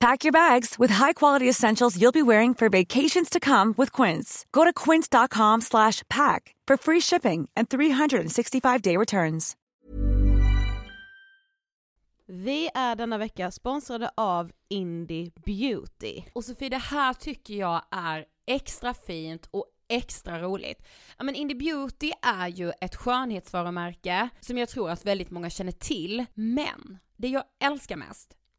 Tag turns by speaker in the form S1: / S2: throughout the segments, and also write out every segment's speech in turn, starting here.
S1: Pack your bags with high-quality essentials you'll be wearing for vacations to come with Quince. Go to quince.com/pack slash pack for free shipping and 365-day returns.
S2: Vi är denna vecka sponsrade av Indie Beauty.
S3: Och Sofie, det här tycker jag är extra fint och extra roligt. Ja men Indie Beauty är ju ett skönhetsvarumärke som jag tror att väldigt många känner till, men det jag älskar mest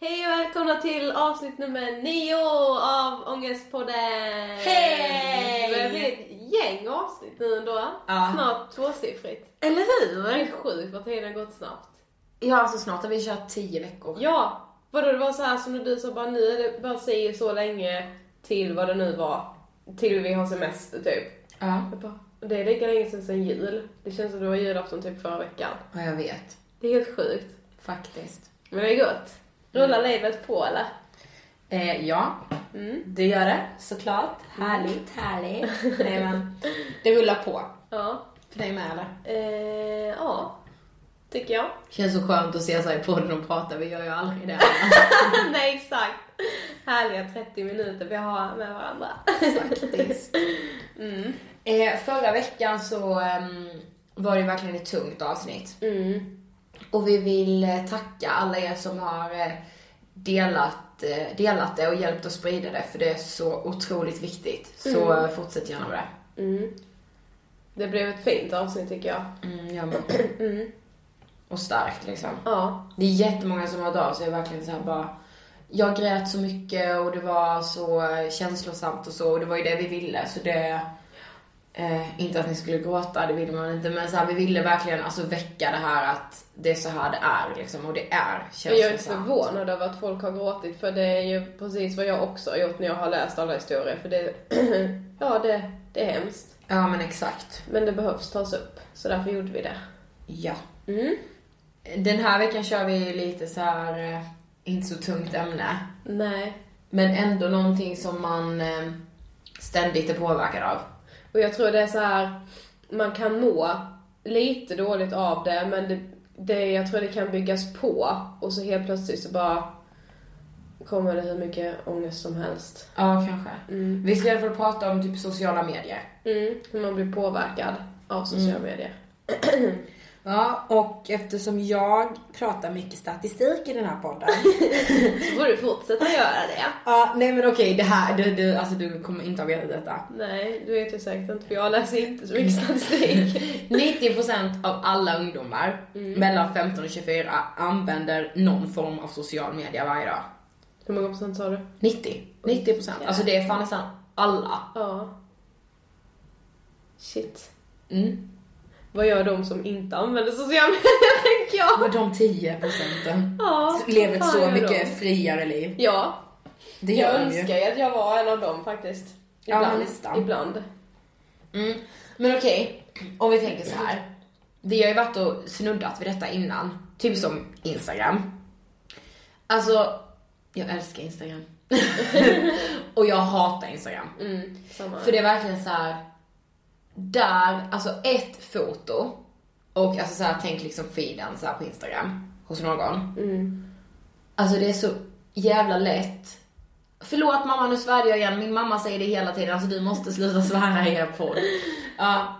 S4: Hej och välkomna till avsnitt nummer nio av Ångestpodden!
S5: Hej!
S4: Det blir ett gäng avsnitt nu ändå.
S5: Ja.
S4: Snart tvåsiffrigt.
S5: Eller
S4: Det är
S5: hur?
S4: sjukt vad tiden har gått snabbt.
S5: Ja, alltså snart har vi kört 10 veckor.
S4: Ja! Vadå det var så här som när du sa bara nu är det bara säger så länge till vad det nu var. Till vi har semester typ.
S5: Ja.
S4: Jag bara, det är lika länge sedan sen jul. Det känns som det var julafton typ förra veckan.
S5: ja, jag vet.
S4: Det är helt sjukt.
S5: Faktiskt.
S4: Men det är gott. Rullar livet på eller? Mm.
S5: Eh, ja, det gör det. Såklart. Härligt, härligt. Nej, men, det rullar på.
S4: Ja.
S5: För dig med eller?
S4: Eh, ja. Tycker jag.
S5: Känns så skönt att se sig i podden och prata, vi gör ju aldrig det.
S4: Nej exakt. Härliga 30 minuter vi har med varandra.
S5: Faktiskt.
S4: Mm.
S5: Eh, förra veckan så ehm, var det verkligen ett tungt avsnitt.
S4: Mm.
S5: Och vi vill eh, tacka alla er som har eh, delat, eh, delat det och hjälpt oss sprida det, för det är så otroligt viktigt. Så eh, fortsätt gärna med det.
S4: Mm. Det blev ett fint avsnitt tycker jag.
S5: Mm, jag med. Och starkt liksom.
S4: Ja.
S5: Det är jättemånga som har hört av sig och verkligen så här bara jag grät så mycket och det var så eh, känslosamt och så och det var ju det vi ville så det eh, inte att ni skulle gråta, det ville man inte men så här, vi ville verkligen alltså väcka det här att det är så här det är liksom och det är
S4: Men
S5: känslosamt.
S4: jag är förvånad över att folk har gråtit för det är ju precis vad jag också har gjort när jag har läst alla historier för det, ja det, det är hemskt.
S5: Ja men exakt.
S4: Men det behövs tas upp så därför gjorde vi det.
S5: Ja. Mm. Den här veckan kör vi lite så här eh, inte så tungt ämne.
S4: Nej.
S5: Men ändå någonting som man eh, ständigt är påverkad av.
S4: Och jag tror det är så här man kan må lite dåligt av det men det, det, jag tror det kan byggas på och så helt plötsligt så bara kommer det hur mycket ångest som helst.
S5: Ja, kanske. Vi ska i alla fall prata om typ sociala medier.
S4: Mm, hur man blir påverkad av sociala medier.
S5: Ja, och eftersom jag pratar mycket statistik i den här podden.
S4: Så får du fortsätta göra det.
S5: ja, nej men okej, det här, du, du, alltså du kommer inte ha vetat detta.
S4: Nej, du vet ju säkert inte för jag läser inte så mycket statistik.
S5: 90% av alla ungdomar
S4: Mm.
S5: mellan 15 och 24 använder någon form av social media varje dag.
S4: Hur många procent sa du?
S5: 90. 90%. Alltså det är fan nästan alla.
S4: Ja. Shit.
S5: Mm.
S4: Vad gör de som inte använder sociala medier tänker jag?
S5: Och de 10 procenten
S4: Ja,
S5: lever
S4: vad
S5: ett
S4: fan
S5: så
S4: gör
S5: mycket
S4: de?
S5: friare liv.
S4: Ja,
S5: Det
S4: Jag
S5: gör de ju.
S4: önskar ju att jag var en av dem faktiskt.
S5: Ja, men
S4: Ibland.
S5: nästan.
S4: Ibland.
S5: Mm. Men okej, om vi tänker så här. Vi har ju varit och snuddat vid detta innan. Typ som Instagram. Alltså, jag älskar Instagram. och jag hatar Instagram.
S4: Mm, samma.
S5: För det är verkligen så här. Där, alltså ett foto. Och alltså så här, tänk liksom feeden så här på Instagram. Hos någon.
S4: Mm.
S5: Alltså det är så jävla lätt. Förlåt mamma, nu svär jag igen. Min mamma säger det hela tiden. Alltså du måste sluta svära i er podd. Ja.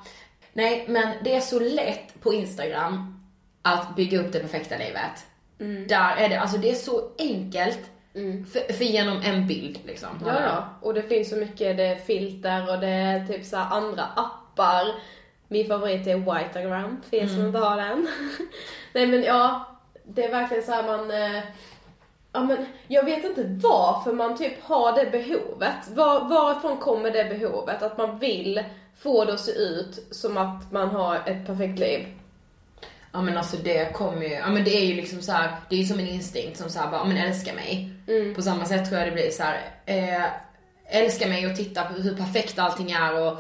S5: Nej, men det är så lätt på Instagram att bygga upp det perfekta livet.
S4: Mm.
S5: Där är det, alltså det är så enkelt. För, för genom en bild liksom.
S4: Ja, ja. Och det finns så mycket, det är filter och det är typ så här andra appar. Min favorit är Whiteagram, för er
S5: Mm.
S4: som inte har den. Nej men ja, det är verkligen så här man... eh, Ja, men jag vet inte varför man typ har det behovet. Var, varifrån kommer det behovet? Att man vill få det att se ut som att man har ett perfekt liv.
S5: Ja men alltså det kommer ju, ja men det är ju liksom så här, det är ju som en instinkt som såhär bara, ja men älska mig. På samma sätt tror jag det blir så här, eh, älska mig och titta på hur perfekt allting är och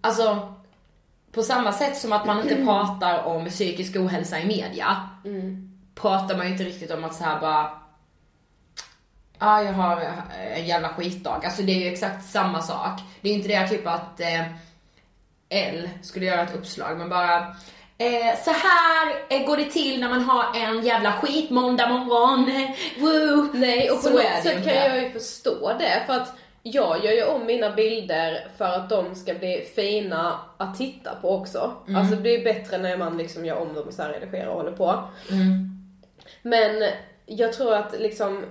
S5: alltså på samma sätt som att man inte pratar om psykisk ohälsa i media pratar man ju inte riktigt om att såhär bara ja jag har eh, en jävla skitdag. Alltså det är ju exakt samma sak. Det är ju inte det typ att eh, L skulle göra ett uppslag men bara eh, så här eh, går det till när man har en jävla skitmåndag morgon. Woo!
S4: Nej, och på
S5: Så är det
S4: något
S5: ju
S4: sätt
S5: inte.
S4: kan jag ju förstå det. För att jag gör ju om mina bilder för att de ska bli fina att titta på också.
S5: Mm.
S4: Alltså det blir bättre när man liksom gör om dem och så här redigerar och håller på. Men jag tror att liksom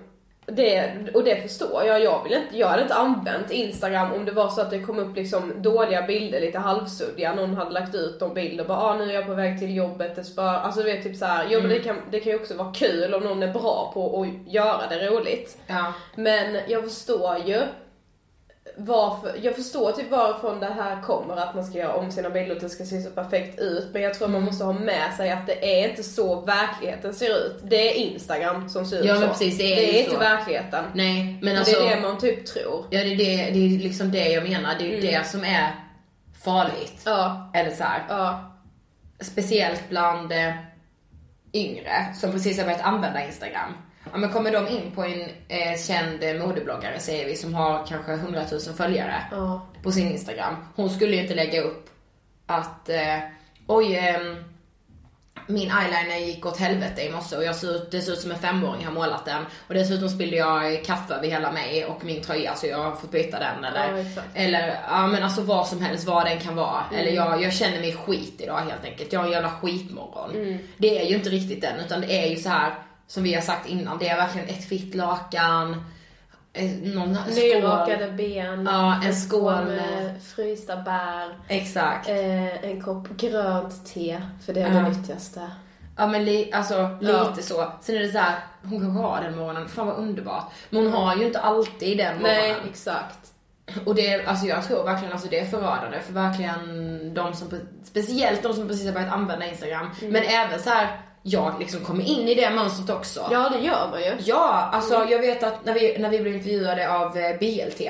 S4: det, och det förstår jag, jag, vill inte, jag hade inte använt instagram om det var så att det kom upp liksom dåliga bilder, lite halvsuddiga, någon hade lagt ut de bilder och bara ah, nu är jag på väg till jobbet, det spör, alltså du vet typ såhär, jo men det kan, det kan ju också vara kul om någon är bra på att göra det roligt.
S5: Ja.
S4: Men jag förstår ju varför, jag förstår typ varifrån det här kommer att man ska göra om sina bilder och att det ska se så perfekt ut. Men jag tror man måste ha med sig att det är inte så verkligheten ser ut. Det är Instagram som ser ut
S5: Ja,
S4: typ så.
S5: men precis, det är ju
S4: inte
S5: så.
S4: verkligheten.
S5: Nej men
S4: Men
S5: alltså.
S4: Det är det man typ tror. Mm.
S5: Ja det är, det, det är liksom det jag menar. Det är ju det som är farligt.
S4: Ja,
S5: Eller så här.
S4: ja,
S5: speciellt bland eh, yngre som precis har börjat använda Instagram. Ja, men kommer de in på en eh, känd eh, modebloggare säger vi som har kanske 100 000 följare
S4: Ja.
S5: på sin Instagram. Hon skulle ju inte lägga upp att eh, oj ehm, min eyeliner gick åt helvete i morse och jag ser ut, det ser ut som en femåring har målat den. Och dessutom spillde jag kaffe över hela mig och min tröja så jag har fått byta den. Eller,
S4: Ja, exakt. Mm.
S5: eller ja men alltså vad som helst, vad den kan vara. Eller jag, jag känner mig skit idag helt enkelt. Jag har en jävla skitmorgon.
S4: Mm.
S5: Det är ju inte riktigt den utan det är ju så här som vi har sagt innan. Det är verkligen ett fitt lakan, eh, någon skål.
S4: nyrakade ben.
S5: Ja, en skål med-
S4: med frysta bär.
S5: Exakt.
S4: Eh, en kopp grönt te, för det är
S5: Ja.
S4: det nyttigaste.
S5: Ja men li, alltså
S4: Ja.
S5: lite så. Sen är det så här, hon kanske har den morgonen, fan vad underbart. Men hon har ju inte alltid den
S4: Mm. Nej,
S5: morgonen.
S4: exakt.
S5: Och det, alltså jag tror verkligen alltså det är förödande för verkligen de som, pre- speciellt de som precis har börjat använda Instagram.
S4: Mm.
S5: Men även så här, jag liksom kommer in i det mönstret också.
S4: Ja, det gör man ju.
S5: Ja, alltså jag vet att när vi, när vi blev intervjuade av eh, BLT.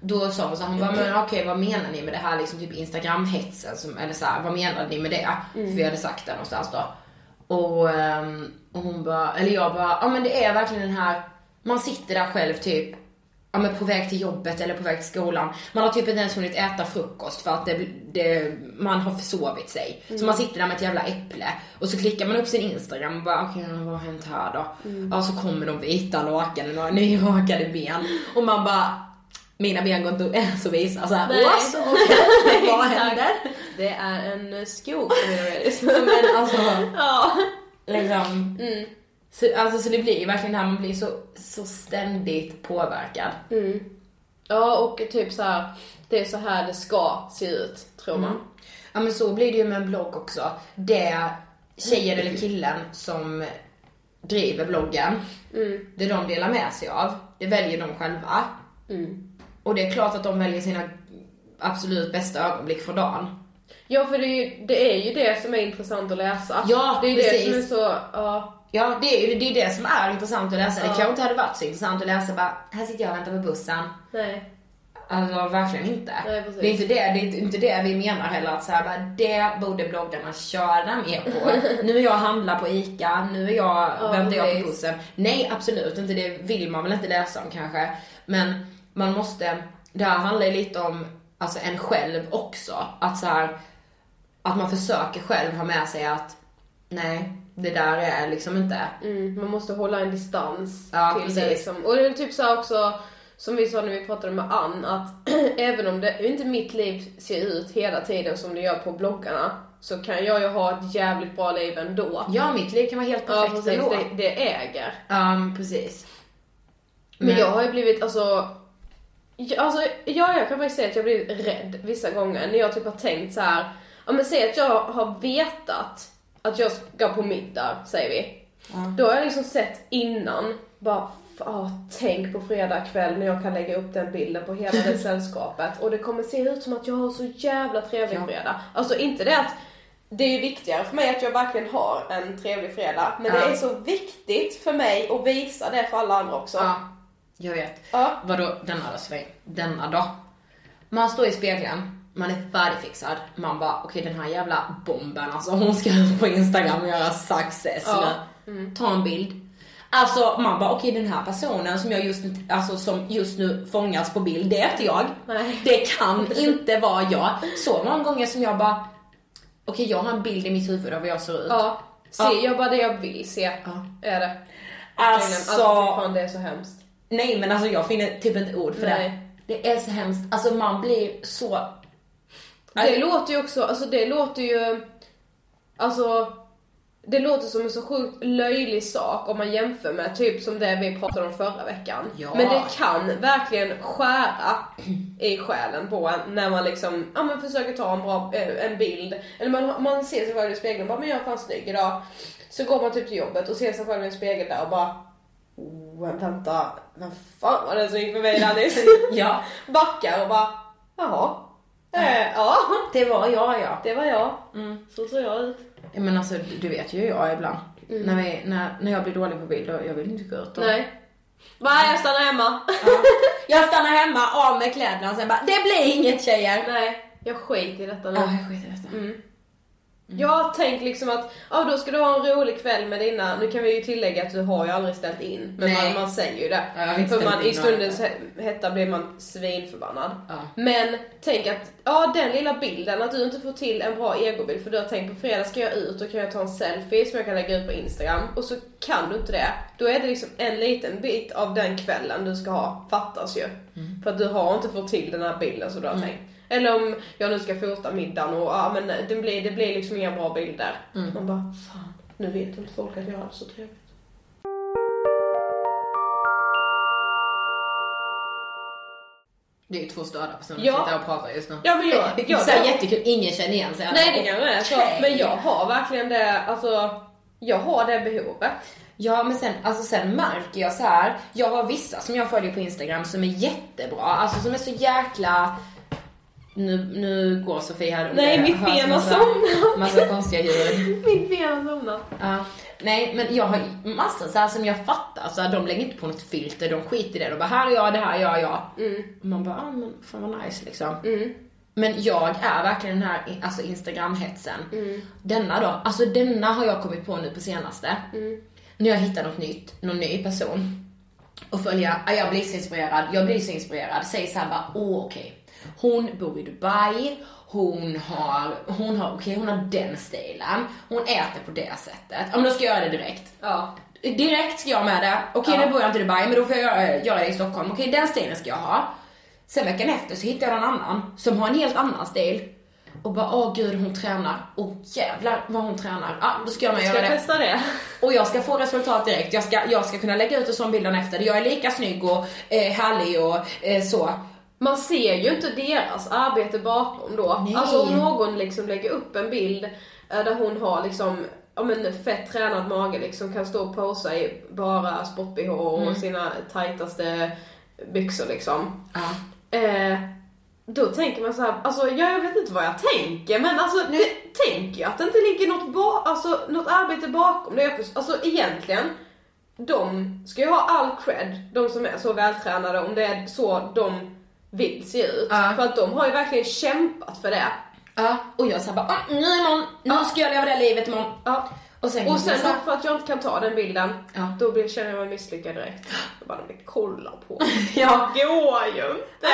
S5: Då sa hon så här, hon bara, men okej vad menar ni med det här liksom typ instagramhetsen? Som, eller så här, vad menar ni med det? För vi hade sagt det någonstans då. Och, ehm, och hon bara, eller jag bara, ja men det är verkligen den här, man sitter där själv typ, ja men på väg till jobbet eller på väg till skolan. Man har typ inte ens hunnit äta frukost för att det, det, man har försovit sig. Så man sitter där med ett jävla äpple och så klickar man upp sin Instagram och bara okej vad har hänt här då? Ja så kommer de vita lakanen och nyrakade ben och man bara mina ben går inte att ens att visa såhär,
S4: Nej.
S5: what? Okej, vad händer?
S4: Det är en eh, skog som är det.
S5: Men alltså,
S4: Ja. Mm.
S5: Liksom. Så, alltså, så det blir ju verkligen det här, man blir så, så ständigt påverkad.
S4: ja, och typ så här. det är så här det ska se ut, tror man.
S5: Mm. Ja men så blir det ju med en blogg också. Det tjejen eller killen som driver bloggen,
S4: Mm.
S5: det de delar med sig av, det väljer de själva.
S4: Mm.
S5: Och det är klart att de väljer sina absolut bästa ögonblick för dagen.
S4: Ja, för det är, ju, det är ju det som är intressant att läsa.
S5: Ja,
S4: det är det
S5: precis.
S4: som är så, ja.
S5: Ja, det är ju det, är det som är intressant att läsa. Det kanske inte hade varit så intressant att läsa bara, här sitter jag och väntar på bussen.
S4: Nej.
S5: Alltså verkligen inte.
S4: Nej, precis.
S5: det är inte det, det är inte- inte det vi menar heller att så här, bara, det borde bloggarna köra mer på. nu är jag och handlar på ICA, nu är jag,
S4: Ja,
S5: väntar jag
S4: precis.
S5: på bussen. Nej absolut inte, det vill man väl inte läsa om kanske. Men man måste, det här handlar ju lite om alltså, en själv också. Att så här, att man försöker själv ha med sig att nej, det där är liksom inte
S4: Mm, man måste hålla en distans
S5: Ja,
S4: till det
S5: precis.
S4: liksom. Och det är typ så här också, som vi sa när vi pratade med Ann, att även om det inte mitt liv ser ut hela tiden som det gör på bloggarna, så kan jag ju ha ett jävligt bra liv ändå.
S5: Ja, mitt liv kan vara helt
S4: Ja,
S5: perfekt
S4: precis.
S5: ändå.
S4: Det, det äger.
S5: Ja, men precis.
S4: Men, jag har ju blivit, alltså... Jag, alltså ja, jag kan faktiskt säga att jag har blivit rädd vissa gånger när jag typ har tänkt så här. Ja men säg att jag har vetat att jag ska på middag, säger vi. Då har jag liksom sett innan, bara f- ah, tänk på fredag kväll när jag kan lägga upp den bilden på hela det sällskapet och det kommer se ut som att jag har så jävla trevlig fredag. Alltså inte det att det är ju viktigare för mig att jag verkligen har en trevlig fredag men det
S5: Ja.
S4: är så viktigt för mig att visa det för alla andra också.
S5: Ja, jag vet.
S4: Ja.
S5: Vadå denna dag sväng? Denna dag? Man står i spegeln, man är färdigfixad, man bara okej den här jävla bomben alltså hon ska ut på Instagram och göra success.
S4: Ja. Mm.
S5: nu. Ta en bild. Alltså man bara okej den här personen som jag just nu, alltså, som just nu fångas på bild, det är inte jag.
S4: Nej.
S5: Det kan inte vara jag. Så många gånger som jag bara okej jag har en bild i mitt huvud av hur jag ser ut.
S4: Ja. Se,
S5: Ja.
S4: jag bara det jag vill se.
S5: Ja.
S4: Är det.
S5: Alltså-
S4: alltså fan, det är så hemskt.
S5: Nej men alltså jag finner typ inte ord för
S4: Nej.
S5: det. Det är så hemskt, alltså man blir så...
S4: Det låter ju också, alltså det låter ju, alltså det låter som en så sjukt löjlig sak om man jämför med typ som det vi pratade om förra veckan.
S5: Ja.
S4: Men det kan verkligen skära i själen på en när man liksom, ja men försöker ta en bra, eh, en bild. Eller man, man ser sig själv i spegeln och bara men jag är fan snygg idag. Så går man typ till jobbet och ser sig själv i en spegel där och bara oh, vänta, vem fan var det som gick förbi där nyss?
S5: Ja.
S4: Backar och bara jaha, eh, ja.
S5: Det var jag ja. Mm.
S4: Det var jag. Så såg jag ut. Mm.
S5: Ja, Men alltså du vet ju hur jag är ibland. När, vi, när, när jag blir dålig på bild, då- jag vill inte gå ut. och-
S4: Nej. Nej, jag stannar hemma.
S5: Ja. Jag stannar hemma, av med kläderna och sen bara det blir inget tjejer.
S4: Nej, jag skiter i detta nu.
S5: Ja, jag skiter i detta. Mm.
S4: Jag har tänkt liksom att, ja då ska du ha en rolig kväll med dina, nu kan vi ju tillägga att du har ju aldrig ställt in. Men
S5: Nej.
S4: man, man säger ju det.
S5: Ja, jag har inte
S4: För
S5: ställt
S4: man,
S5: in
S4: i
S5: några
S4: stundens he- hetta blir man svinförbannad.
S5: Ja.
S4: Men tänk att, ja den lilla bilden, att du inte får till en bra egobild för du har tänkt på fredag ska jag ut och kan jag ta en selfie som jag kan lägga ut på Instagram. Och så kan du inte det. Då är det liksom en liten bit av den kvällen du ska ha, fattas ju.
S5: Mm.
S4: För att du har inte fått till den här bilden som du har tänkt. Eller om jag nu ska fota middagen och ja men det blir, det blir liksom inga bra bilder.
S5: Mm.
S4: Man bara, fan nu vet inte folk att jag har det så trevligt.
S5: Det är ju två störda personer
S4: Ja.
S5: som sitter och pratar just nu.
S4: Ja, men jag-
S5: det, det,
S4: jag-
S5: så här jättekul, ingen känner igen sig.
S4: Nej det kanske är så, men jag har verkligen det, alltså jag har det behovet.
S5: Ja men sen, alltså sen märker jag så här. jag har vissa som jag följer på Instagram som är jättebra, alltså som är så jäkla nu, nu går Sofie här och
S4: Nej,
S5: det
S4: mitt
S5: hörs
S4: ben har
S5: massa-
S4: somnat.
S5: Massa konstiga ljud.
S4: Mitt ben har somnat.
S5: Ja. Nej men jag har ju massor så här som jag fattar, så här, de lägger inte på något filter, de skiter i det. De bara här är jag, det här gör jag.
S4: Mm.
S5: Och man bara, ah, men fan vad nice liksom. Men jag är verkligen den här alltså Instagram-hetsen.
S4: Mm.
S5: Denna då, alltså denna har jag kommit på nu på senaste.
S4: Mm.
S5: När jag hittar något nytt, någon ny person. Och följa, ah, jag blir så inspirerad, jag blir så inspirerad. Säger såhär bara, åh okej. Hon bor i Dubai, hon har, hon har, okej hon har den stilen. Hon äter på det sättet. Ja men då ska jag göra det direkt.
S4: Ja.
S5: Direkt ska jag med det. Okej nu bor jag inte i Dubai men då får jag göra, göra det i Stockholm. Okej den stilen ska jag ha. Sen veckan efter så hittar jag någon annan som har en helt annan stil. Och bara åh gud hon tränar. Åh jävlar vad hon tränar. Ja då ska jag med
S4: Ska
S5: göra
S4: jag
S5: det.
S4: testa det?
S5: Och jag ska få resultat direkt. Jag ska, jag ska kunna lägga ut en sån bild dagen efter. Jag är lika snygg och eh, härlig och eh, så.
S4: Man ser ju inte deras arbete bakom då.
S5: Nej.
S4: Alltså om någon liksom lägger upp en bild eh, där hon har liksom Ja men fett tränad mage liksom, kan stå och posa i bara sport-bh och
S5: Mm.
S4: sina tajtaste byxor liksom.
S5: Ja.
S4: Eh, då tänker man så här, alltså ja, jag vet inte vad jag tänker men alltså det, tänker jag att det inte ligger något, ba, alltså, något arbete bakom det. Jag förs- Alltså egentligen, de ska ju ha all cred, de som är så vältränade om det är så de vill se ut.
S5: Ja.
S4: För att de har ju verkligen kämpat för det.
S5: Ja, och jag såhär bara, "Ah, nu imorgon, nu ska jag leva det livet imorgon.
S4: Ja.
S5: Och sen,
S4: Och sen
S5: så
S4: då
S5: här,
S4: för att jag inte kan ta den bilden,
S5: Ja.
S4: då blir, känner jag mig misslyckad direkt. Jag bara, de kollar på mig.
S5: ja.
S4: Det går ju inte.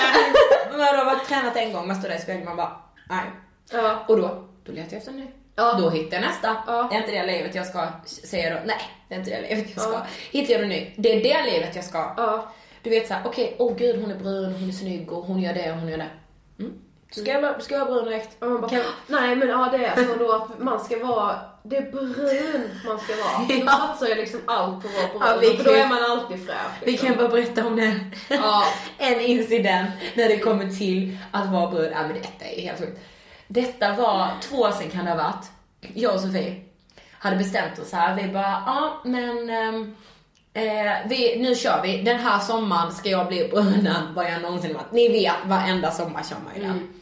S5: När du har varit tränat en gång, man står där i spegeln man bara, nej.
S4: Ja.
S5: Och då, då letar jag efter en ny.
S4: Ja.
S5: Då hittar jag nästa.
S4: Ja.
S5: Det är inte det livet jag ska, säger jag då. Nej, det är inte det livet jag ska.
S4: Ja.
S5: Hittar jag en ny, det är det livet jag ska.
S4: Ja.
S5: Du vet såhär, okej, åh gud hon är brun, hon är snygg och hon gör det och hon gör det. Mm. Ska, jag, ska jag vara brun direkt?
S4: Och man bara,
S5: Kan-
S4: nej men ja det är så då att man ska vara, det är brun man ska vara. Då
S5: Ja.
S4: satsar jag liksom allt på att vara brun,
S5: Ja, vi
S4: för då
S5: kan-
S4: är man alltid fräsch.
S5: Vi
S4: Liksom.
S5: kan bara berätta om en,
S4: Ja.
S5: en incident när det kommer till att vara brud. Ja, men detta är helt sjukt. Detta var två år sedan kan det ha varit. Jag och Sofie hade bestämt oss här. Vi bara, ja men ehm, eh, vi, nu kör vi. Den här sommaren ska jag bli brun än vad jag någonsin varit. Ni vet, varenda sommar kör man ju den.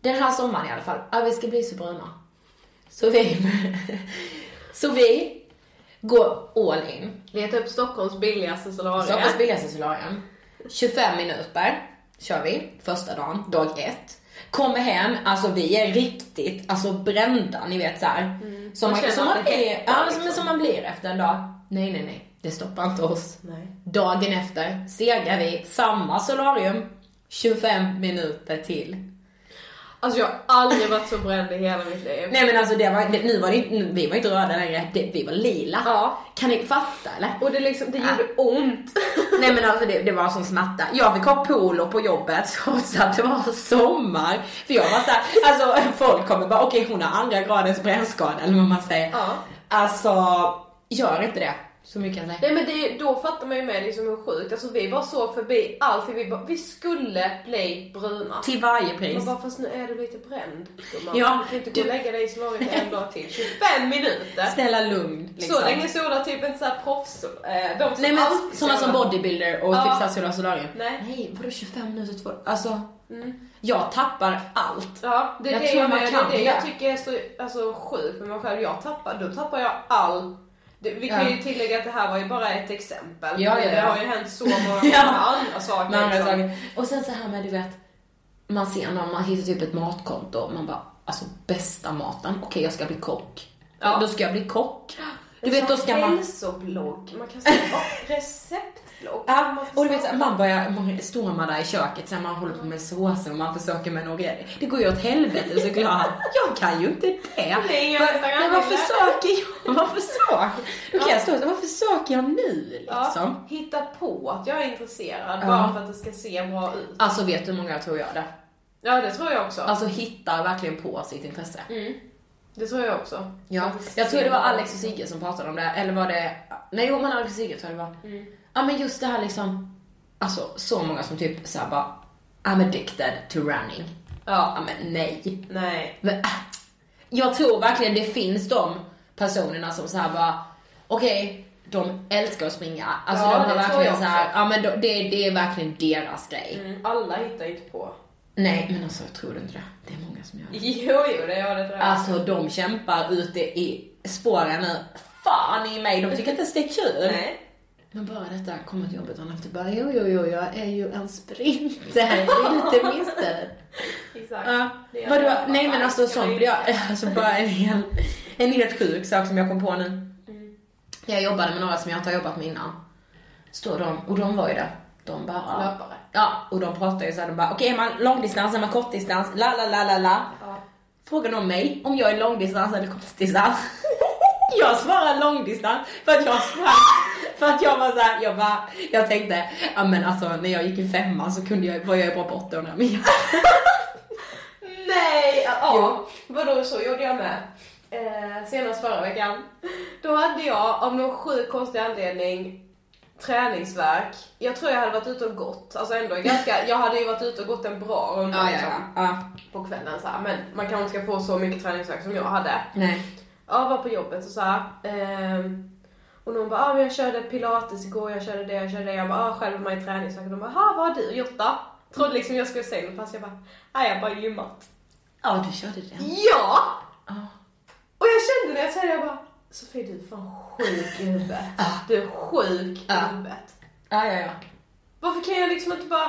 S5: Den här sommaren i alla fall. Ja, vi ska bli så bruna. Så vi, så vi går all in.
S4: Leta upp Stockholms billigaste solarier.
S5: Stockholms billigaste solarium. 25 minuter kör vi första dagen, dag ett. Kommer hem, alltså vi är riktigt alltså brända, ni vet såhär. Som,
S4: Mm. Man
S5: man,
S4: känner
S5: som,
S4: att
S5: man
S4: det
S5: blir-
S4: hettar,
S5: ja,
S4: liksom.
S5: men som man blir efter en dag. Nej, nej, nej. Det stoppar inte oss.
S4: Nej.
S5: Dagen efter segar vi samma solarium 25 minuter till.
S4: Alltså jag har aldrig varit så bränd i hela mitt liv.
S5: Nej men alltså det var, det, nu var det, inte- nu, vi var inte röda längre, det, vi var lila.
S4: Ja.
S5: Kan ni fatta eller? Ah.
S4: Och det liksom, det gjorde ont.
S5: Nej men alltså det, det var sån smärta. Jag fick ha polo på jobbet trots att det var sommar. För jag var såhär, alltså folk kommer bara okej hon har andra gradens brännskada eller vad man säger.
S4: Ja.
S5: Alltså, gör inte det. Så mycket kan jag säga.
S4: Nej men det, då fattar man ju med liksom hur sjukt, alltså vi bara såg förbi allting, vi, bara, vi skulle bli bruna.
S5: Till varje pris.
S4: Man bara, fast nu är du lite bränd gumman.
S5: Typ. Ja,
S4: du kan inte gå
S5: du-
S4: och lägga dig i solariet en dag till. 25 minuter!
S5: Snälla lugn. Liksom.
S4: Så länge solar typ inte såhär proffs, eh, de som
S5: Nej men
S4: alltid
S5: sådana som
S4: solar.
S5: bodybuilder och
S4: Ja.
S5: typ typ Solar Solarium.
S4: Nej. Mm.
S5: Nej, vadå 25 minuter två? Alltså, jag tappar allt.
S4: Ja, det är
S5: Jag
S4: det
S5: tror
S4: jag,
S5: man
S4: menar,
S5: kan
S4: det, är det jag
S5: det.
S4: tycker är så alltså, sjukt med mig själv. Jag tappar, då tappar jag all... Det, vi kan
S5: Ja.
S4: ju tillägga att det här var ju bara ett exempel.
S5: Ja, ja, ja.
S4: Det har ju hänt så många
S5: Ja.
S4: andra saker.
S5: Med andra
S4: liksom.
S5: saker. Och sen så här med du vet, man ser någon, man hittar typ ett matkonto och man bara, alltså bästa maten, okej jag ska bli kock.
S4: Ja.
S5: Då ska jag bli kock. Du
S4: En
S5: vet då
S4: sån
S5: ska man...
S4: Hälsoblogg. Man kan säga "Åh, receptblogg.
S5: Ja,
S4: Man får
S5: och du vet, så
S4: starta-
S5: här, man börjar, man stormar där i köket, så här, man håller på med såser och man försöker med några Det går ju åt helvete såklart. Jag kan ju inte det.
S4: Nej, jag
S5: Va-
S4: vet inte.
S5: nej, varför söker jag? Varför söker Då kan jag stå och säga, varför söker jag nu
S4: Ja,
S5: liksom?
S4: hitta på att jag är intresserad
S5: Ja.
S4: bara för att det ska se bra ut.
S5: Alltså vet du hur många jag tror gör det?
S4: Ja, det tror jag också.
S5: Alltså hittar verkligen på sitt intresse.
S4: det tror jag också.
S5: Ja,
S4: Att ska
S5: jag tror
S4: se
S5: det var
S4: bra
S5: Alex
S4: ut.
S5: och Sigge som pratade om det, eller var det, nej jo men Alex och Sigge tror jag det var.
S4: Mm.
S5: Ja men just det här liksom, alltså så många som typ såhär bara, I'm addicted to running.
S4: Ja.
S5: Ja men nej.
S4: Nej.
S5: Men, äh, jag tror verkligen det finns de personerna som såhär bara, okej, de älskar att springa. Alltså
S4: Ja,
S5: de
S4: det
S5: har
S4: tror
S5: verkligen
S4: jag
S5: såhär,
S4: också.
S5: ja men de, det, det är verkligen deras grej.
S4: Mm, alla hittar inte på.
S5: Nej men alltså jag tror inte det. Det är många som gör det.
S4: Jo, jo, det gör det tror jag.
S5: Alltså de kämpar ute i spåren nu. Fan i mig, de tycker inte ens det är kul.
S4: Nej.
S5: Men bara detta, kommer till jobbet dagen efter bara jo, jo, jo, jag är ju en sprinter. Vill inte missa det.
S4: Exakt.
S5: Ja,
S4: Det är
S5: vadå?
S4: jag.
S5: Nej men alltså sånt blir jag, alltså bara en, hel, en helt sjuk sak som jag kom på nu. Mm. Jag jobbade med några som jag inte har jobbat med innan. Står de, och de var ju det. De bara...
S4: Löpare.
S5: Ja, och de pratar ju såhär, de bara okej är man långdistans, är man kortdistans, la la la la la. Frågar någon mig om jag är långdistans eller kortdistans? jag svarar långdistans för att jag sprang. För att jag var såhär, jag bara, jag tänkte, ja men alltså när jag gick i femman så kunde jag, var jag ju bra på 800 meter.
S4: Nej! Ja, ja. vadå så gjorde jag med. Eh, senast förra veckan. Då hade jag av någon sjuk konstig anledning träningsvärk. Jag tror jag hade varit ute och gått. Alltså ändå ganska, jag hade ju varit ute och gått en bra runda
S5: Ja, ja,
S4: liksom,
S5: ja. ja.
S4: på kvällen så här. Men man kanske inte ska få så mycket träningsvärk som jag hade.
S5: Nej.
S4: Ja, var på jobbet och så här. ehm, och någon bara, ah, men jag körde pilates igår, jag körde det, jag körde det. Jag bara, ah, själv var man i träningsvärk. Och de bara, ah, vad har du gjort då? Trodde liksom jag skulle säga något fast jag bara, nej jag har bara gymmat.
S5: Ja, du körde den.
S4: Ja! Och jag kände när jag sa det, jag bara Sofie du är fan sjuk i huvudet. Du är sjuk i
S5: Ja.
S4: huvudet.
S5: Ja, ja, ja.
S4: Varför kan jag liksom inte bara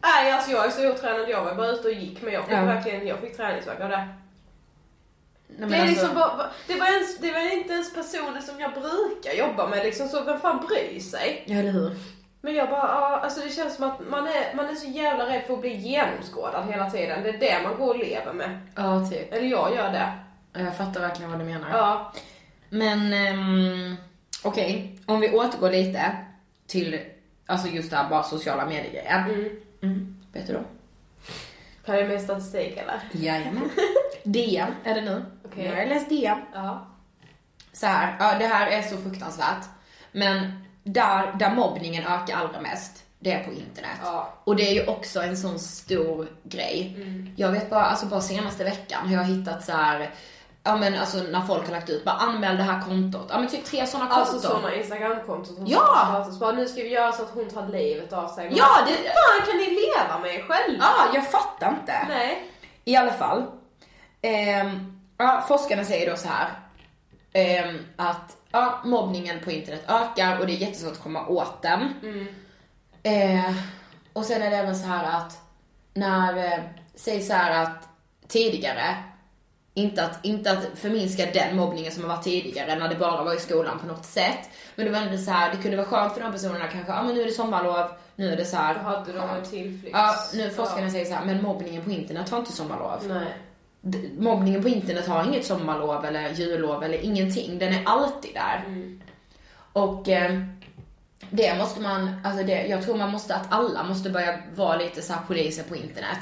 S4: Nej alltså jag är så otränad, jag var bara ute och gick men jag fick
S5: Ja.
S4: verkligen, jag fick träningsvärk av det.
S5: Nej, men
S4: Det, är
S5: alltså-
S4: liksom bara, bara- det, var ens, det var inte ens personer som jag brukar jobba med liksom, så vem fan bryr sig?
S5: Ja, eller hur?
S4: Men jag bara, ah, alltså det känns som att man är, man är så jävla rädd för att bli genomskådad hela tiden. Det är det man går och lever med.
S5: Ja, typ.
S4: Eller jag gör det.
S5: Ja, Jag fattar verkligen vad du menar.
S4: Ja.
S5: Men um, okej, om vi återgår lite till alltså just det här bara sociala medier. Mm. Vet du då?
S4: Kan jag med statistik eller?
S5: Jajamän. DM är det nu.
S4: Okej.
S5: Nu har jag läst DM.
S4: Ja.
S5: Så här, ja, det här är så fruktansvärt. Men där, där mobbningen ökar allra mest, det är på internet.
S4: Ja. Mm.
S5: Och det är ju också en sån stor grej. Jag vet bara, alltså bara senaste veckan har jag hittat så här, ja men alltså när folk har lagt ut, bara anmäl det här kontot. Ja men typ tre sådana konton.
S4: Alltså sådana instagramkonton som
S5: Ja!
S4: Så bara, nu ska vi göra så att hon tar livet av sig.
S5: Ja, det-
S4: Hur fan kan ni leva med er själva?
S5: Ja, Ah, jag fattar inte.
S4: Nej.
S5: I alla fall. Ehm, ja, forskarna säger då så här. ehm, att ja, mobbningen på internet ökar och det är jättesvårt att komma åt den.
S4: Mm.
S5: Eh, och sen är det även så här att när, eh, säg så här att tidigare, inte att, inte att förminska den mobbningen som har varit tidigare när det bara var i skolan på något sätt. Men det var ändå så här, det kunde vara skönt för de personerna kanske, ja men nu är det sommarlov, nu är det så här.
S4: Då hade de en
S5: skönt.
S4: tillflykt.
S5: Ja, nu forskarna säger så här, men mobbningen på internet har inte sommarlov.
S4: Nej.
S5: D- Mobbningen på internet har inget sommarlov eller jullov eller ingenting. Den är alltid där. Och eh, det måste man, alltså det, jag tror man måste att alla måste börja vara lite så här poliser på internet.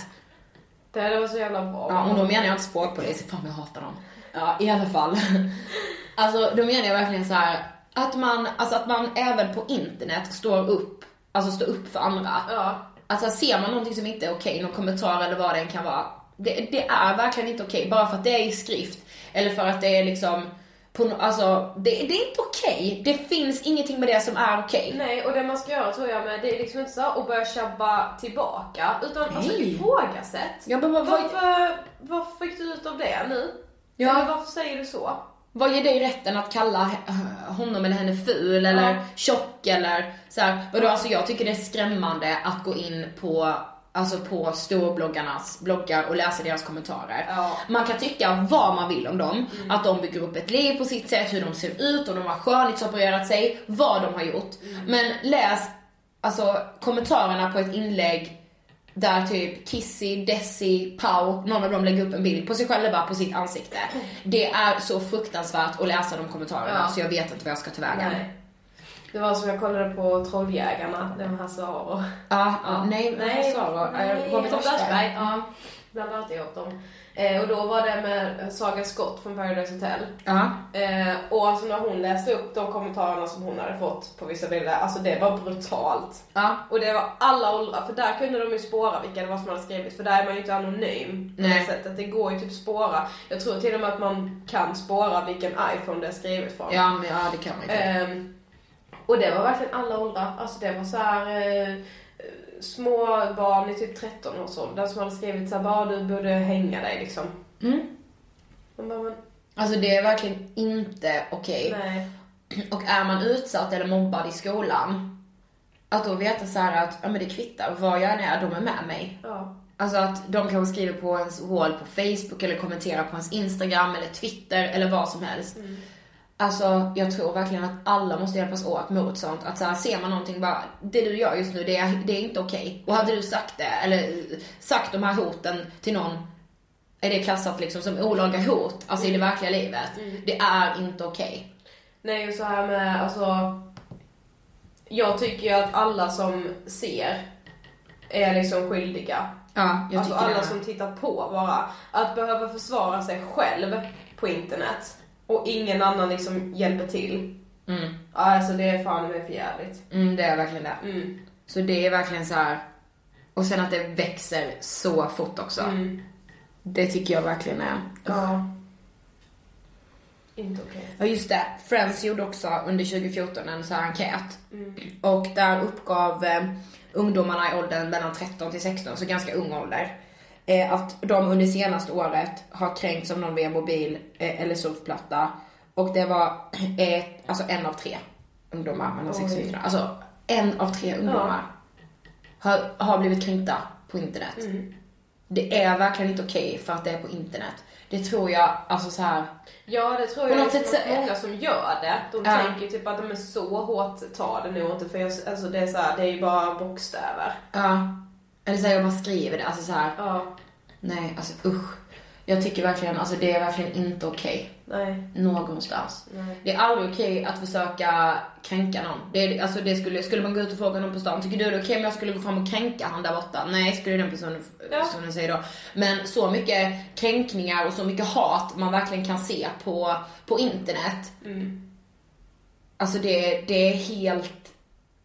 S4: Det här var så jävla bra.
S5: Ja, och då menar jag inte språkpoliser, fan jag hatar dem. Ja, i alla fall. Alltså då menar jag verkligen så här att man, alltså att man även på internet står upp, alltså står upp för andra.
S4: Ja.
S5: Alltså ser man någonting som inte är okej, någon kommentar eller vad det än kan vara. Det, det är verkligen inte okej, bara för att det är i skrift. Eller för att det är liksom, på, no- alltså det, det är inte okej. Det finns ingenting med det som är okej.
S4: Nej, och det man ska göra tror jag med, det är liksom inte så här att börja tjabba tillbaka, utan alltså
S5: Nej.
S4: ifrågasätt.
S5: Jag bara, vad, vad,
S4: Varför, vad fick du ut av det nu?
S5: Ja.
S4: Eller varför säger du så?
S5: vad ger dig rätten att kalla he- honom eller henne ful eller
S4: Ja.
S5: tjock eller så här. Vadå, alltså jag tycker det är skrämmande att gå in på Alltså på storbloggarnas bloggar och läsa deras kommentarer.
S4: Ja. Mm.
S5: Man kan tycka vad man vill om dem. Att de bygger upp ett liv på sitt sätt, hur de ser ut, om de har skönhetsopererat sig, vad de har gjort.
S4: Mm.
S5: Men läs alltså, kommentarerna på ett inlägg där typ Kissy, Desi, Pau, någon av dem lägger upp en bild på sig själva, på sitt ansikte. Det är så fruktansvärt att läsa de kommentarerna
S4: Ja.
S5: så jag vet inte vad jag ska tillväga.
S4: Nej. Det var som jag kollade på Trolljägarna, den här Saro.
S5: Ja, ja, nej, nej, Sara, nej, Robert Aschberg.
S4: Ja, bland annat ihop dem. Eh, och då var det med Saga Scott från Paradise Hotel.
S5: Ja.
S4: Eh, och alltså när hon läste upp de kommentarerna som hon hade fått på vissa bilder, alltså det var brutalt.
S5: Ja.
S4: Och det var alla åldrar, för där kunde de ju spåra vilka det var som hade skrivit, för där är man ju inte anonym på
S5: Nej.
S4: det sättet. Det går ju typ spåra. Jag tror till och med att man kan spåra vilken iPhone det är skrivet från.
S5: Ja, men, ja, det kan man ju.
S4: Ehm, och det var verkligen alla åldrar. Alltså det var så här eh, små barn i typ 13 års ålder som hade skrivit så här, bara du borde hänga dig liksom.
S5: Mm.
S4: Man bara, men,
S5: Alltså det är verkligen inte okej.
S4: nej.
S5: Och är man utsatt eller mobbad i skolan, att då veta så här att ja, men det kvittar, var jag än är, de är med mig.
S4: Ja.
S5: Alltså att de kanske skriver på ens wall på Facebook eller kommenterar på ens Instagram eller Twitter eller vad som helst. Alltså jag tror verkligen att alla måste hjälpas åt mot sånt. Att så här, ser man någonting bara, det du gör just nu det är, det är inte okej. Och hade du sagt det, eller eh, sagt de här hoten till någon, är det klassat liksom som olaga hot, alltså i det verkliga livet. Det är inte okej.
S4: Mm. Nej och så här med, alltså. Jag tycker ju att alla som ser är liksom skyldiga.
S5: Ja, jag
S4: alltså
S5: tycker
S4: alla
S5: det.
S4: som tittar på bara. Att behöva försvara sig själv på internet och ingen annan liksom hjälper till.
S5: Mm.
S4: Ja, alltså det är fan mig för jävligt.
S5: Mm, det är verkligen det.
S4: Mm.
S5: Så det är verkligen så här. Och sen att det växer så fort också. Det tycker jag verkligen är.
S4: Mm. Ja. Inte okej.
S5: Ja just det, Friends gjorde också under 2014 en så här enkät. Och där uppgav eh, ungdomarna i åldern mellan 13 till 16, så ganska ung ålder, eh, att de under senaste året har kränkts av någon via mobil eh, eller surfplatta. Och det var eh, alltså en av tre ungdomar mellan 16 och 19. Alltså en av tre ungdomar har, har blivit kränkta på internet. Det är verkligen inte okej för att det är på internet. Det tror jag, alltså så här.
S4: Ja, det tror
S5: På
S4: jag
S5: något
S4: är
S5: sätt så-
S4: så... många som gör det. De
S5: Ja.
S4: tänker ju typ att de är så hårt tar det nog inte för jag, alltså det är så här, det är ju bara bokstäver.
S5: Ja. Eller så här, jag bara skriver det. Alltså så här.
S4: Ja,
S5: Nej, alltså usch. Jag tycker verkligen, alltså det är verkligen inte okej.
S4: nej.
S5: Någonstans.
S4: Nej.
S5: Det är aldrig okej att försöka kränka någon. Det är, alltså det skulle, skulle man gå ut och fråga någon på stan, tycker du det är okej om jag skulle gå fram och kränka han där borta? Nej, skulle den personen,
S4: Ja.
S5: personen säga då. Men så mycket kränkningar och så mycket hat man verkligen kan se på, på internet.
S4: Mm.
S5: Alltså det, det är helt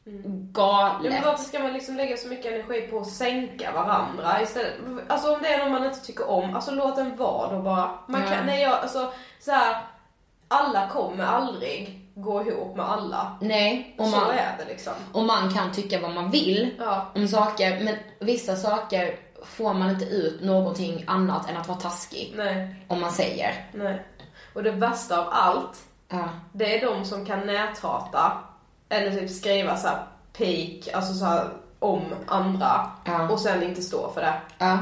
S4: Ja,
S5: galet.
S4: Mm. men varför ska man liksom lägga så mycket energi på att sänka varandra istället? Alltså om det är någon man inte tycker om, alltså låt den vara då bara. Man kan,
S5: Ja.
S4: nej jag, alltså så här, alla kommer aldrig gå ihop med alla.
S5: Nej, och
S4: så
S5: man,
S4: är det liksom.
S5: och man kan tycka vad man vill
S4: Ja.
S5: om saker, men vissa saker får man inte ut någonting annat än att vara taskig.
S4: Nej,
S5: Om man säger.
S4: nej. Och det värsta av allt,
S5: Ja.
S4: det är de som kan näthata eller typ skriva så här peak, alltså så här om andra
S5: Ja.
S4: och sen inte stå för det.
S5: Ja,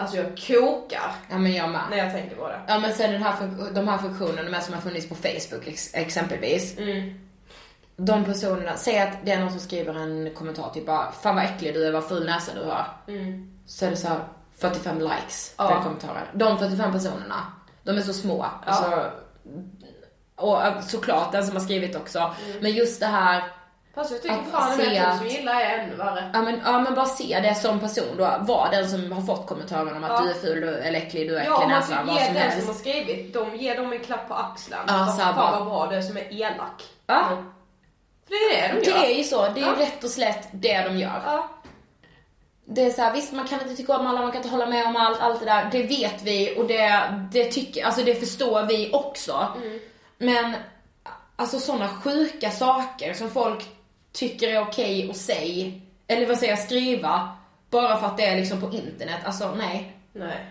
S4: Alltså jag kokar
S5: ja men jag med.
S4: när jag tänker på det.
S5: Ja men sen den här fun- de här funktionerna med som har funnits på Facebook ex- exempelvis.
S4: Mm.
S5: De personerna, säg att det är någon som skriver en kommentar typ bara Fan vad äcklig du är, vad ful näsa du har. Så är det så här 45 likes på
S4: Mm. Ja.
S5: den kommentaren. De 45 personerna, de är så små. Alltså, och eh, såklart den som har skrivit också.
S4: Mm.
S5: Men just det här
S4: Fast jag tycker
S5: Att
S4: fan
S5: se
S4: den här som
S5: att-
S4: gillar är ännu värre.
S5: Ja men, ja men bara se det som person då, var den som har fått kommentaren om att
S4: Ja.
S5: du är ful, du är äcklig, du är
S4: Ja,
S5: äcklig
S4: om man
S5: näsa, vad
S4: typ
S5: som
S4: ger den som har
S5: helst.
S4: skrivit, de ger dem en klapp på axeln.
S5: Ja,
S4: Vad
S5: så här
S4: fan
S5: bara-
S4: vad bra du är som är elak.
S5: Ja.
S4: Mm. För det är det de
S5: Det
S4: gör.
S5: är ju så, det är
S4: Ja.
S5: ju rätt och slätt det de gör.
S4: Ja.
S5: Det är så här, visst man kan inte tycka om alla, man kan inte hålla med om allt, allt det där. Det vet vi och det, det tycker, alltså det förstår vi också.
S4: Mm.
S5: Men, alltså sådana sjuka saker som folk tycker är okej att säga, eller vad säger jag, skriva, bara för att det är liksom på internet. Alltså nej.
S4: Nej.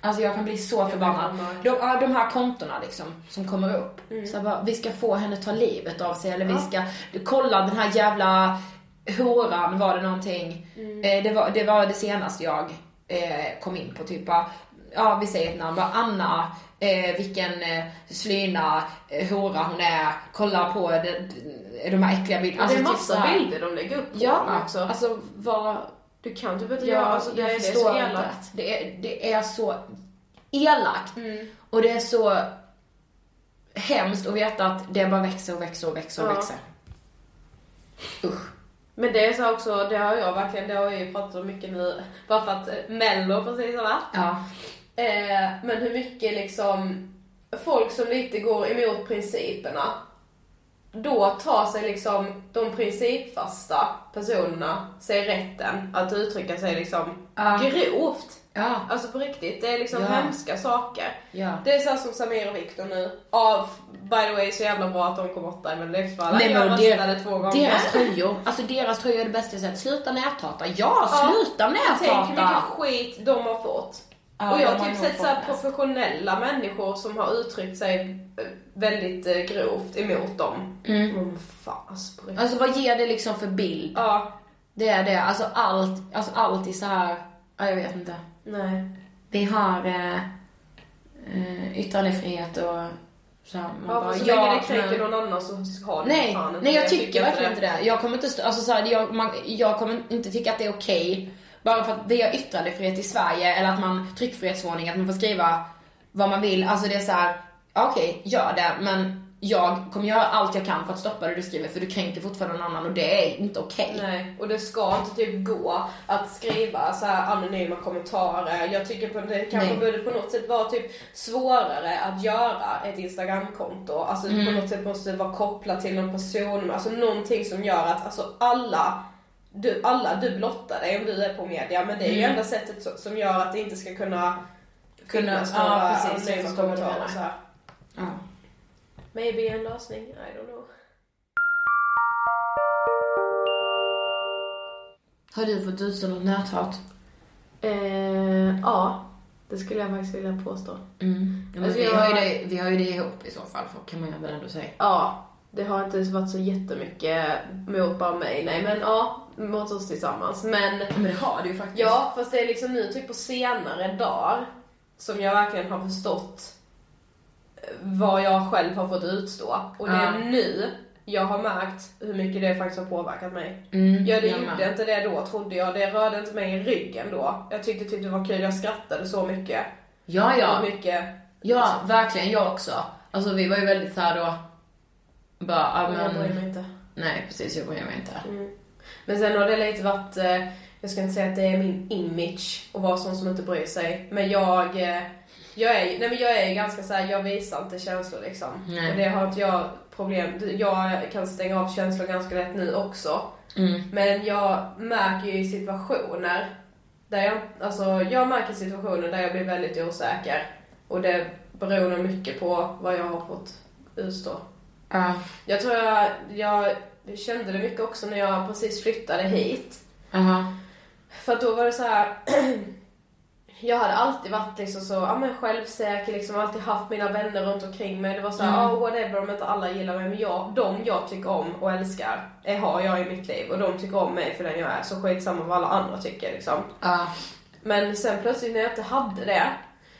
S5: Alltså jag kan bli så förbannad. De, ja, de här kontona liksom, som kommer upp.
S4: Mm.
S5: Så jag bara, vi ska få henne ta livet av sig eller vi ska, kolla den här jävla horan var det någonting.
S4: Mm.
S5: Eh, det, var, det var det senaste jag eh, kom in på typ bara, ja vi säger ett namn, bara Anna, eh, vilken eh, slyna eh, hora hon är, kolla på de, de här äckliga bilderna.
S4: det är
S5: typ
S4: massa
S5: så här-
S4: bilder de lägger upp på dem
S5: Ja,
S4: också.
S5: alltså vad
S4: du kan typ inte
S5: Ja,
S4: göra, alltså det,
S5: jag
S4: är, det är
S5: förstår
S4: så
S5: inte.
S4: elakt.
S5: Det är, det är så elakt.
S4: Mm.
S5: Och det är så hemskt att veta att det bara växer och växer och växer och
S4: Ja.
S5: växer. Usch.
S4: Men det är så här också, det har jag verkligen, det har jag ju pratat om mycket nu, bara för att eh, mello precis har varit.
S5: Ja.
S4: Eh, men hur mycket liksom folk som lite går emot principerna då tar sig liksom de principfasta personerna sig rätten att uttrycka sig liksom
S5: Ja.
S4: grovt.
S5: Ja.
S4: Alltså på riktigt, det är liksom
S5: Ja.
S4: hemska saker.
S5: Ja.
S4: Det är så här som Samir och Viktor nu. Av, by the way, så jävla bra att de kom åtta i Melodifestivalen.
S5: Nej, men
S4: Jag
S5: det-
S4: röstade två gånger.
S5: Deras tröjor, alltså deras tröjor är det bästa jag sett. Sluta näthata. Ja, sluta
S4: Tänk hur mycket
S5: näthata!
S4: skit de har fått.
S5: Ja,
S4: och
S5: de
S4: jag
S5: har
S4: har typ
S5: nog
S4: sett
S5: fått
S4: såhär
S5: det.
S4: professionella människor som har uttryckt sig eh, väldigt eh, grovt emot dem. Mm. Fan, alltså, på riktigt.
S5: Alltså vad ger det liksom för bild?
S4: ja,
S5: Det är det, alltså allt, alltså allt är så här. ja jag vet inte.
S4: nej.
S5: vi har eh, eh, yttrandefrihet och så här, man
S4: Ja, för så länge det kränker någon annan så har det
S5: Nej,
S4: fan inte
S5: nej jag
S4: det.
S5: tycker verkligen inte det. Jag kommer inte, stå, alltså, så här, jag, man, jag kommer inte tycka att det är okej bara för att vi har yttrandefrihet i Sverige eller att man tryckfrihetsförordning, att man får skriva vad man vill. Alltså det är så här, ja, okej, gör det men jag kommer göra allt jag kan för att stoppa det du skriver för du kränker fortfarande någon annan och det är inte okej.
S4: Nej, och det ska inte typ gå att skriva så här anonyma kommentarer. Jag tycker på, det kanske
S5: Nej.
S4: borde på något sätt vara typ svårare att göra ett instagramkonto. Alltså på något sätt måste det vara kopplat till någon person, alltså någonting som gör att alltså alla du, alla, du blottar dig om du är på media men det är ju enda sättet så, som gör att det inte ska kunna
S5: Kunna-
S4: finnas
S5: ja,
S4: typ några
S5: precis, liksom, jag
S4: anonyma
S5: förstår vad du
S4: kommentarer.
S5: menar.
S4: Så här.
S5: Ja.
S4: Maybe en lösning, I don't know.
S5: Har du fått utstå något näthat?
S4: Eh, ja, det skulle jag faktiskt vilja påstå.
S5: Mm. Ja, men
S4: Alltså,
S5: vi,
S4: jag-
S5: har ju det, vi har ju det ihop i så fall, för kan man ju väl ändå säga.
S4: Ja, Det har inte varit så jättemycket mot bara mig, nej men ja, mot oss tillsammans. Men
S5: Men det har du ju faktiskt.
S4: Ja, fast det är liksom nu typ på senare dagar som jag verkligen har förstått eh, vad jag själv har fått utstå. Och det är
S5: Ja.
S4: nu jag har märkt hur mycket det faktiskt har påverkat mig.
S5: Mm,
S4: Ja, det
S5: jag
S4: gjorde
S5: med.
S4: inte det då trodde jag. Det rörde inte mig i ryggen då. Jag tyckte typ det var kul, jag skrattade så mycket.
S5: Ja, ja.
S4: Och mycket.
S5: Ja, verkligen jag också. Alltså vi var ju väldigt såhär då, bara, ja
S4: Men jag
S5: men,
S4: bryr mig inte. Mm.
S5: nej precis jag bryr mig inte.
S4: Men sen har det lite varit, eh, jag ska inte säga att det är min image att vara sån som inte bryr sig. Men jag, eh, jag är ju nej men jag är ju ganska såhär, jag visar inte känslor liksom.
S5: Nej.
S4: Och det har inte jag problem, jag kan stänga av känslor ganska lätt nu också.
S5: Mm.
S4: Men jag märker ju i situationer där jag, alltså jag märker situationer där jag blir väldigt osäker. Och det beror nog mycket på vad jag har fått utstå.
S5: Ja,
S4: Jag tror jag, jag kände det mycket också när jag precis flyttade hit.
S5: aha.
S4: För att då var det så här. Jag hade alltid varit liksom så, ja, men självsäker, liksom, alltid haft mina vänner runt omkring mig. Det var så här,
S5: Mm.
S4: ja whatever om inte alla gillar mig. Men jag, de jag tycker om och älskar eh, har jag i mitt liv. Och de tycker om mig för den jag är. Så skitsamma vad alla andra tycker liksom.
S5: Ja,
S4: Men sen plötsligt när jag inte hade det,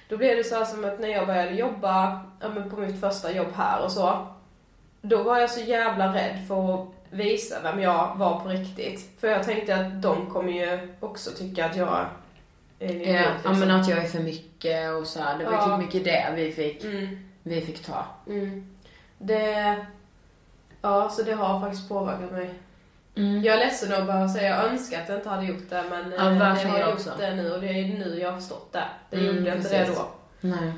S4: då blev det så här som att när jag började jobba ja, men på mitt första jobb här och så, då var jag så jävla rädd för att visa vem jag var på riktigt. För jag tänkte att de kommer ju också tycka att jag är en idiot.
S5: ja, ja
S4: liksom.
S5: men att jag är för mycket och så här, det var
S4: Ja.
S5: typ mycket det vi fick,
S4: mm,
S5: vi fick ta.
S4: mm. Det... Ja, så det har faktiskt påverkat mig.
S5: Mm.
S4: Jag är ledsen att behöva säga, jag önskar att jag inte hade gjort det men
S5: Ja,
S4: eh, jag
S5: verkligen
S4: har
S5: jag
S4: gjort
S5: också.
S4: det nu och det är nu jag har förstått det. Det
S5: Mm,
S4: gjorde jag inte det
S5: precis.
S4: då.
S5: Nej.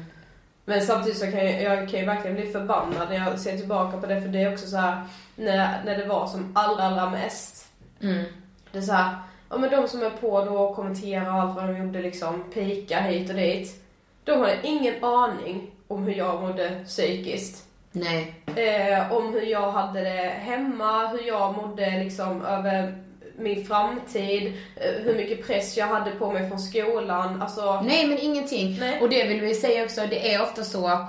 S4: Men samtidigt så kan jag, jag kan ju verkligen bli förbannad när jag ser tillbaka på det för det är också så här när, när det var som allra, allra mest.
S5: Mm.
S4: Det är så här, ja men de som är på då och kommenterar allt vad de gjorde liksom, pika hit och dit. De hade ingen aning om hur jag mådde psykiskt.
S5: Nej.
S4: Eh, om hur jag hade det hemma, hur jag mådde liksom över min framtid, eh, hur mycket press jag hade på mig från skolan. Alltså,
S5: Nej men ingenting.
S4: Nej.
S5: Och det vill vi säga också, det är ofta så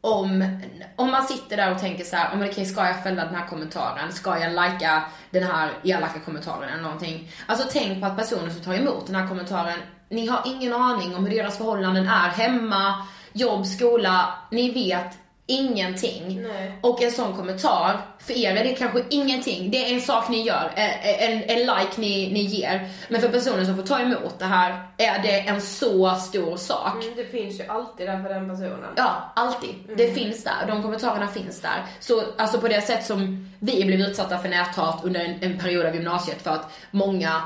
S5: om, om man sitter där och tänker så här, om okej ska jag fälla den här kommentaren? Ska jag lajka den här elaka kommentaren eller någonting? Alltså tänk på att personer som tar emot den här kommentaren, ni har ingen aning om hur deras förhållanden är hemma, jobb, skola, ni vet ingenting.
S4: Nej.
S5: Och en sån kommentar, för er är det kanske ingenting, det är en sak ni gör, eh, en, en, en like ni, ni ger. Men för personen som får ta emot det här är det en så stor sak.
S4: mm, det Mm. finns ju alltid där för den personen.
S5: Ja, alltid. Det finns där. De kommentarerna finns där. Så alltså på det sätt som vi blev utsatta för näthat under en, en period av gymnasiet för att många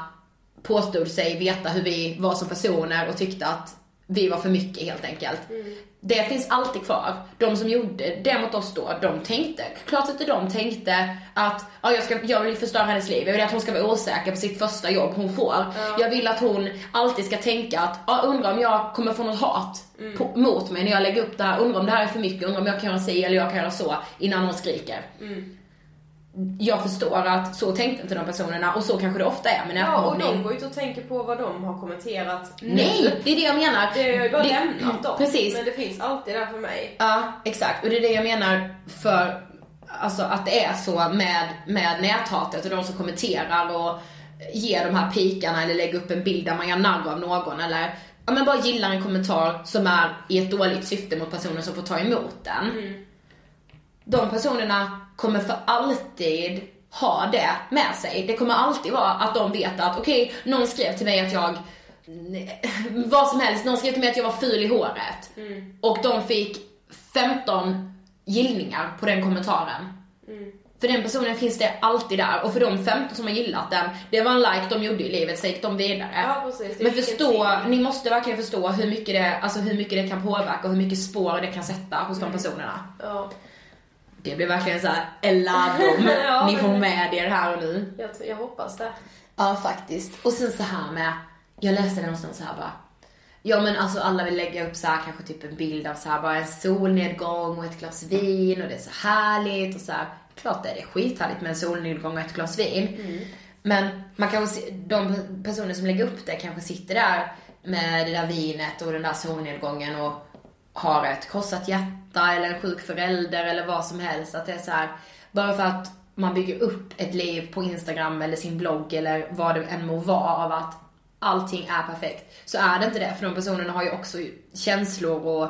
S5: påstod sig veta hur vi var som personer och tyckte att vi var för mycket helt enkelt.
S4: Mm.
S5: Det finns alltid kvar. De som gjorde det mot oss då, de tänkte, klart att de tänkte att ja, jag, ska, jag vill förstöra hennes liv, jag vill att hon ska vara osäker på sitt första jobb hon får. Jag vill att hon alltid ska tänka att, ja, undrar om jag kommer få något hat
S4: Mm.
S5: på, mot mig när jag lägger upp det här, undrar om det här är för mycket, undrar om jag kan göra si eller jag kan göra så innan hon skriker.
S4: Mm.
S5: Jag förstår att så tänkte inte de personerna och så kanske det ofta är med
S4: Ja, och
S5: nätmobbning.
S4: de går ju inte och tänker på vad de har kommenterat nu.
S5: Nej, det är det jag menar.
S4: Det Eh, har ju bara lämnat dem.
S5: Precis.
S4: Men det finns alltid där för mig.
S5: Ja, exakt. Och det är det jag menar för alltså, att det är så med, med näthatet och de som kommenterar och ger de här pikarna eller lägger upp en bild där man gör narr av någon eller ja, men bara gillar en kommentar som är i ett dåligt syfte mot personen som får ta emot den. De personerna kommer för alltid ha det med sig. Det kommer alltid vara att de vet att okej, någon skrev till mig att jag vad som helst, någon skrev till mig att jag var ful i håret.
S4: Mm.
S5: Och de fick 15 gillningar på den kommentaren.
S4: Mm.
S5: För den personen finns det alltid där och för de 15 som har gillat den, det var en like de gjorde i livet, så gick de vidare.
S4: Ja, precis. Det
S5: Men
S4: är vilken
S5: förstå,
S4: tid.
S5: ni måste verkligen förstå hur mycket, det, alltså hur mycket det kan påverka och hur mycket spår det kan sätta hos
S4: Mm.
S5: de personerna.
S4: Ja,
S5: Det blir verkligen såhär, en lärdom.
S4: Ja,
S5: ni får
S4: men-
S5: med er här och nu.
S4: jag, jag hoppas det.
S5: Ja, faktiskt. Och sen så här med, jag läste det någonstans så här bara. Ja men alltså alla vill lägga upp så här kanske typ en bild av så här bara en solnedgång och ett glas vin och det är så härligt och så här. Klart det är det skithärligt med en solnedgång och ett glas vin.
S4: Mm.
S5: Men man kanske, se- de personer som lägger upp det kanske sitter där med det där vinet och den där solnedgången och har ett krossat hjärta eller en sjuk förälder eller vad som helst. Att det är så här, Bara för att man bygger upp ett liv på Instagram eller sin blogg eller vad det än må vara av att allting är perfekt. Så är det inte det, för de personerna har ju också känslor och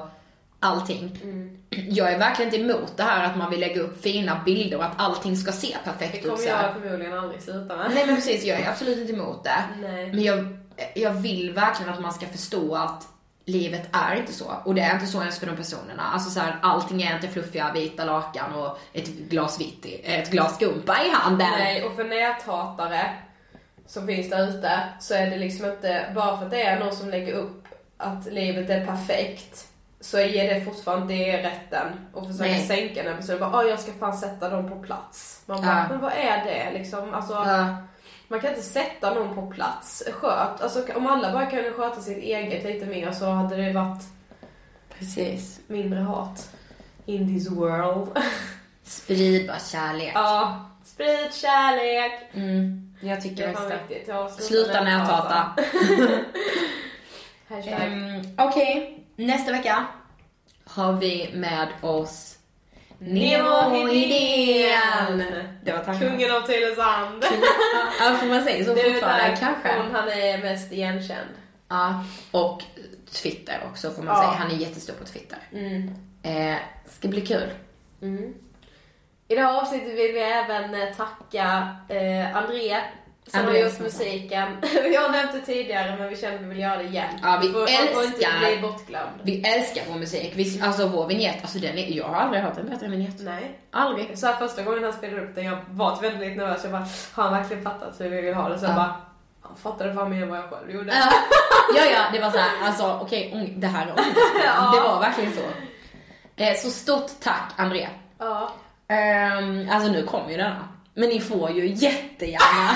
S5: allting.
S4: Mm.
S5: Jag är verkligen inte emot det här att man vill lägga upp fina bilder och att allting ska se
S4: Det
S5: perfekt ut.
S4: kommer
S5: typ så här.
S4: jag förmodligen aldrig sluta med.
S5: Nej men precis, jag är absolut inte emot det.
S4: Nej.
S5: Men jag, jag vill verkligen att man ska förstå att livet är inte så. Och det är inte så ens för de personerna. Alltså så här, allting är inte fluffiga vita lakan och ett glas vitt, i- ett glas skumpa i handen.
S4: Nej, och för näthatare som finns där ute så är det liksom inte, bara för att det är någon som lägger upp att livet är perfekt så ger det fortfarande det rätten att försöka
S5: Nej.
S4: sänka den personen. Bara, "Ah, jag ska fan sätta dem på plats. Man bara,
S5: Ja.
S4: men vad är det liksom? Alltså,
S5: Ja.
S4: Man kan inte sätta någon på plats. Sköt, alltså om alla bara kunde sköta sitt eget lite mer så hade det varit
S5: Precis.
S4: mindre hat. In this world.
S5: Sprid bara kärlek.
S4: ja, sprid kärlek.
S5: Mm. Jag
S4: Det
S5: tycker
S4: är fan
S5: det.
S4: viktigt. Ja,
S5: Sluta näthata.
S4: Hashtag.
S5: Um, Okej, nästa vecka har vi med oss
S4: Nemo Hedén.
S5: Det var tanken.
S4: Kungen av Tylösand.
S5: Ja, får man säga så
S4: Det är väl
S5: fortfarande?
S4: där
S5: Kanske.
S4: hon han är mest igenkänd.
S5: Ja, och Twitter också får man
S4: Ja. Mm.
S5: säga. Han är jättestor på Twitter. Eh, ska bli kul.
S4: I det här avsnittet vill vi även eh, tacka eh, André som har
S5: André
S4: gjort
S5: som-
S4: musiken. vi har nämnt det tidigare men vi känner att vi vill göra det igen.
S5: Ja, vi
S4: får, man får inte
S5: älskar-
S4: bli bortglömd.
S5: Vi älskar vår musik. Vi, alltså vår vignett, alltså den är, jag har aldrig hört en bättre vignett.
S4: Nej.
S5: Aldrig.
S4: Så här, första gången han spelade upp den, jag var väldigt nervös. Jag bara, har han verkligen fattat hur vi vill ha det? Så jag
S5: Ja.
S4: bara, han fattade fan mer än vad jag själv gjorde.
S5: Ja, ja, ja, det var såhär, alltså okej, ång- det här är ångest. Det var verkligen så. Eh, så stort tack, André.
S4: Ja.
S5: Ehm, alltså nu kommer ju denna. Men ni får ju jättegärna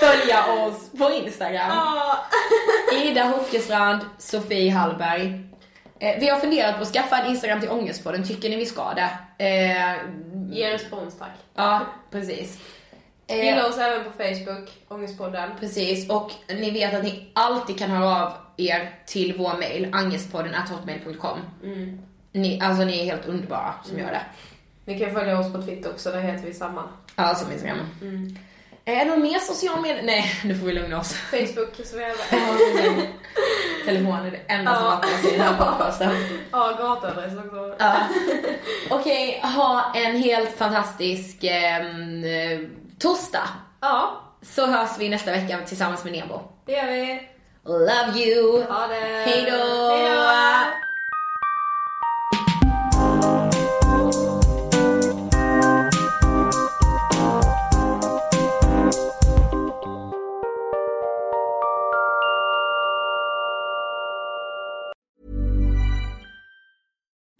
S5: följa oss på Instagram.
S4: Ja.
S5: Ida Hockestrand, Sofie Hallberg. Eh, vi har funderat på att skaffa en Instagram till Ångestpodden, tycker ni vi ska det? Eh,
S4: Ge respons tack.
S5: ja, precis. Eh,
S4: Gilla oss även på Facebook, Ångestpodden.
S5: Precis, och ni vet att ni alltid kan höra av er till vår mail, angestpodden hotmail.com.
S4: Mm.
S5: Ni, alltså ni är helt underbara som gör det.
S4: Ni kan följa oss på Twitter också, där heter vi samma.
S5: Ja, som Instagram. Mm. Är det någon mer social media? Nej, nu får vi lugna oss.
S4: Facebook, så vi även.
S5: Telefon är det enda som
S4: Ja.
S5: vattnas i den här podcasten.
S4: Ja, gatuadress också.
S5: Ja. Okej, ha en helt fantastisk ehm, eh, torsdag.
S4: Ja,
S5: Så hörs vi nästa vecka tillsammans med Nebo.
S4: det gör vi.
S5: Love you!
S4: Ha det!
S5: Hej då!
S4: Hej då!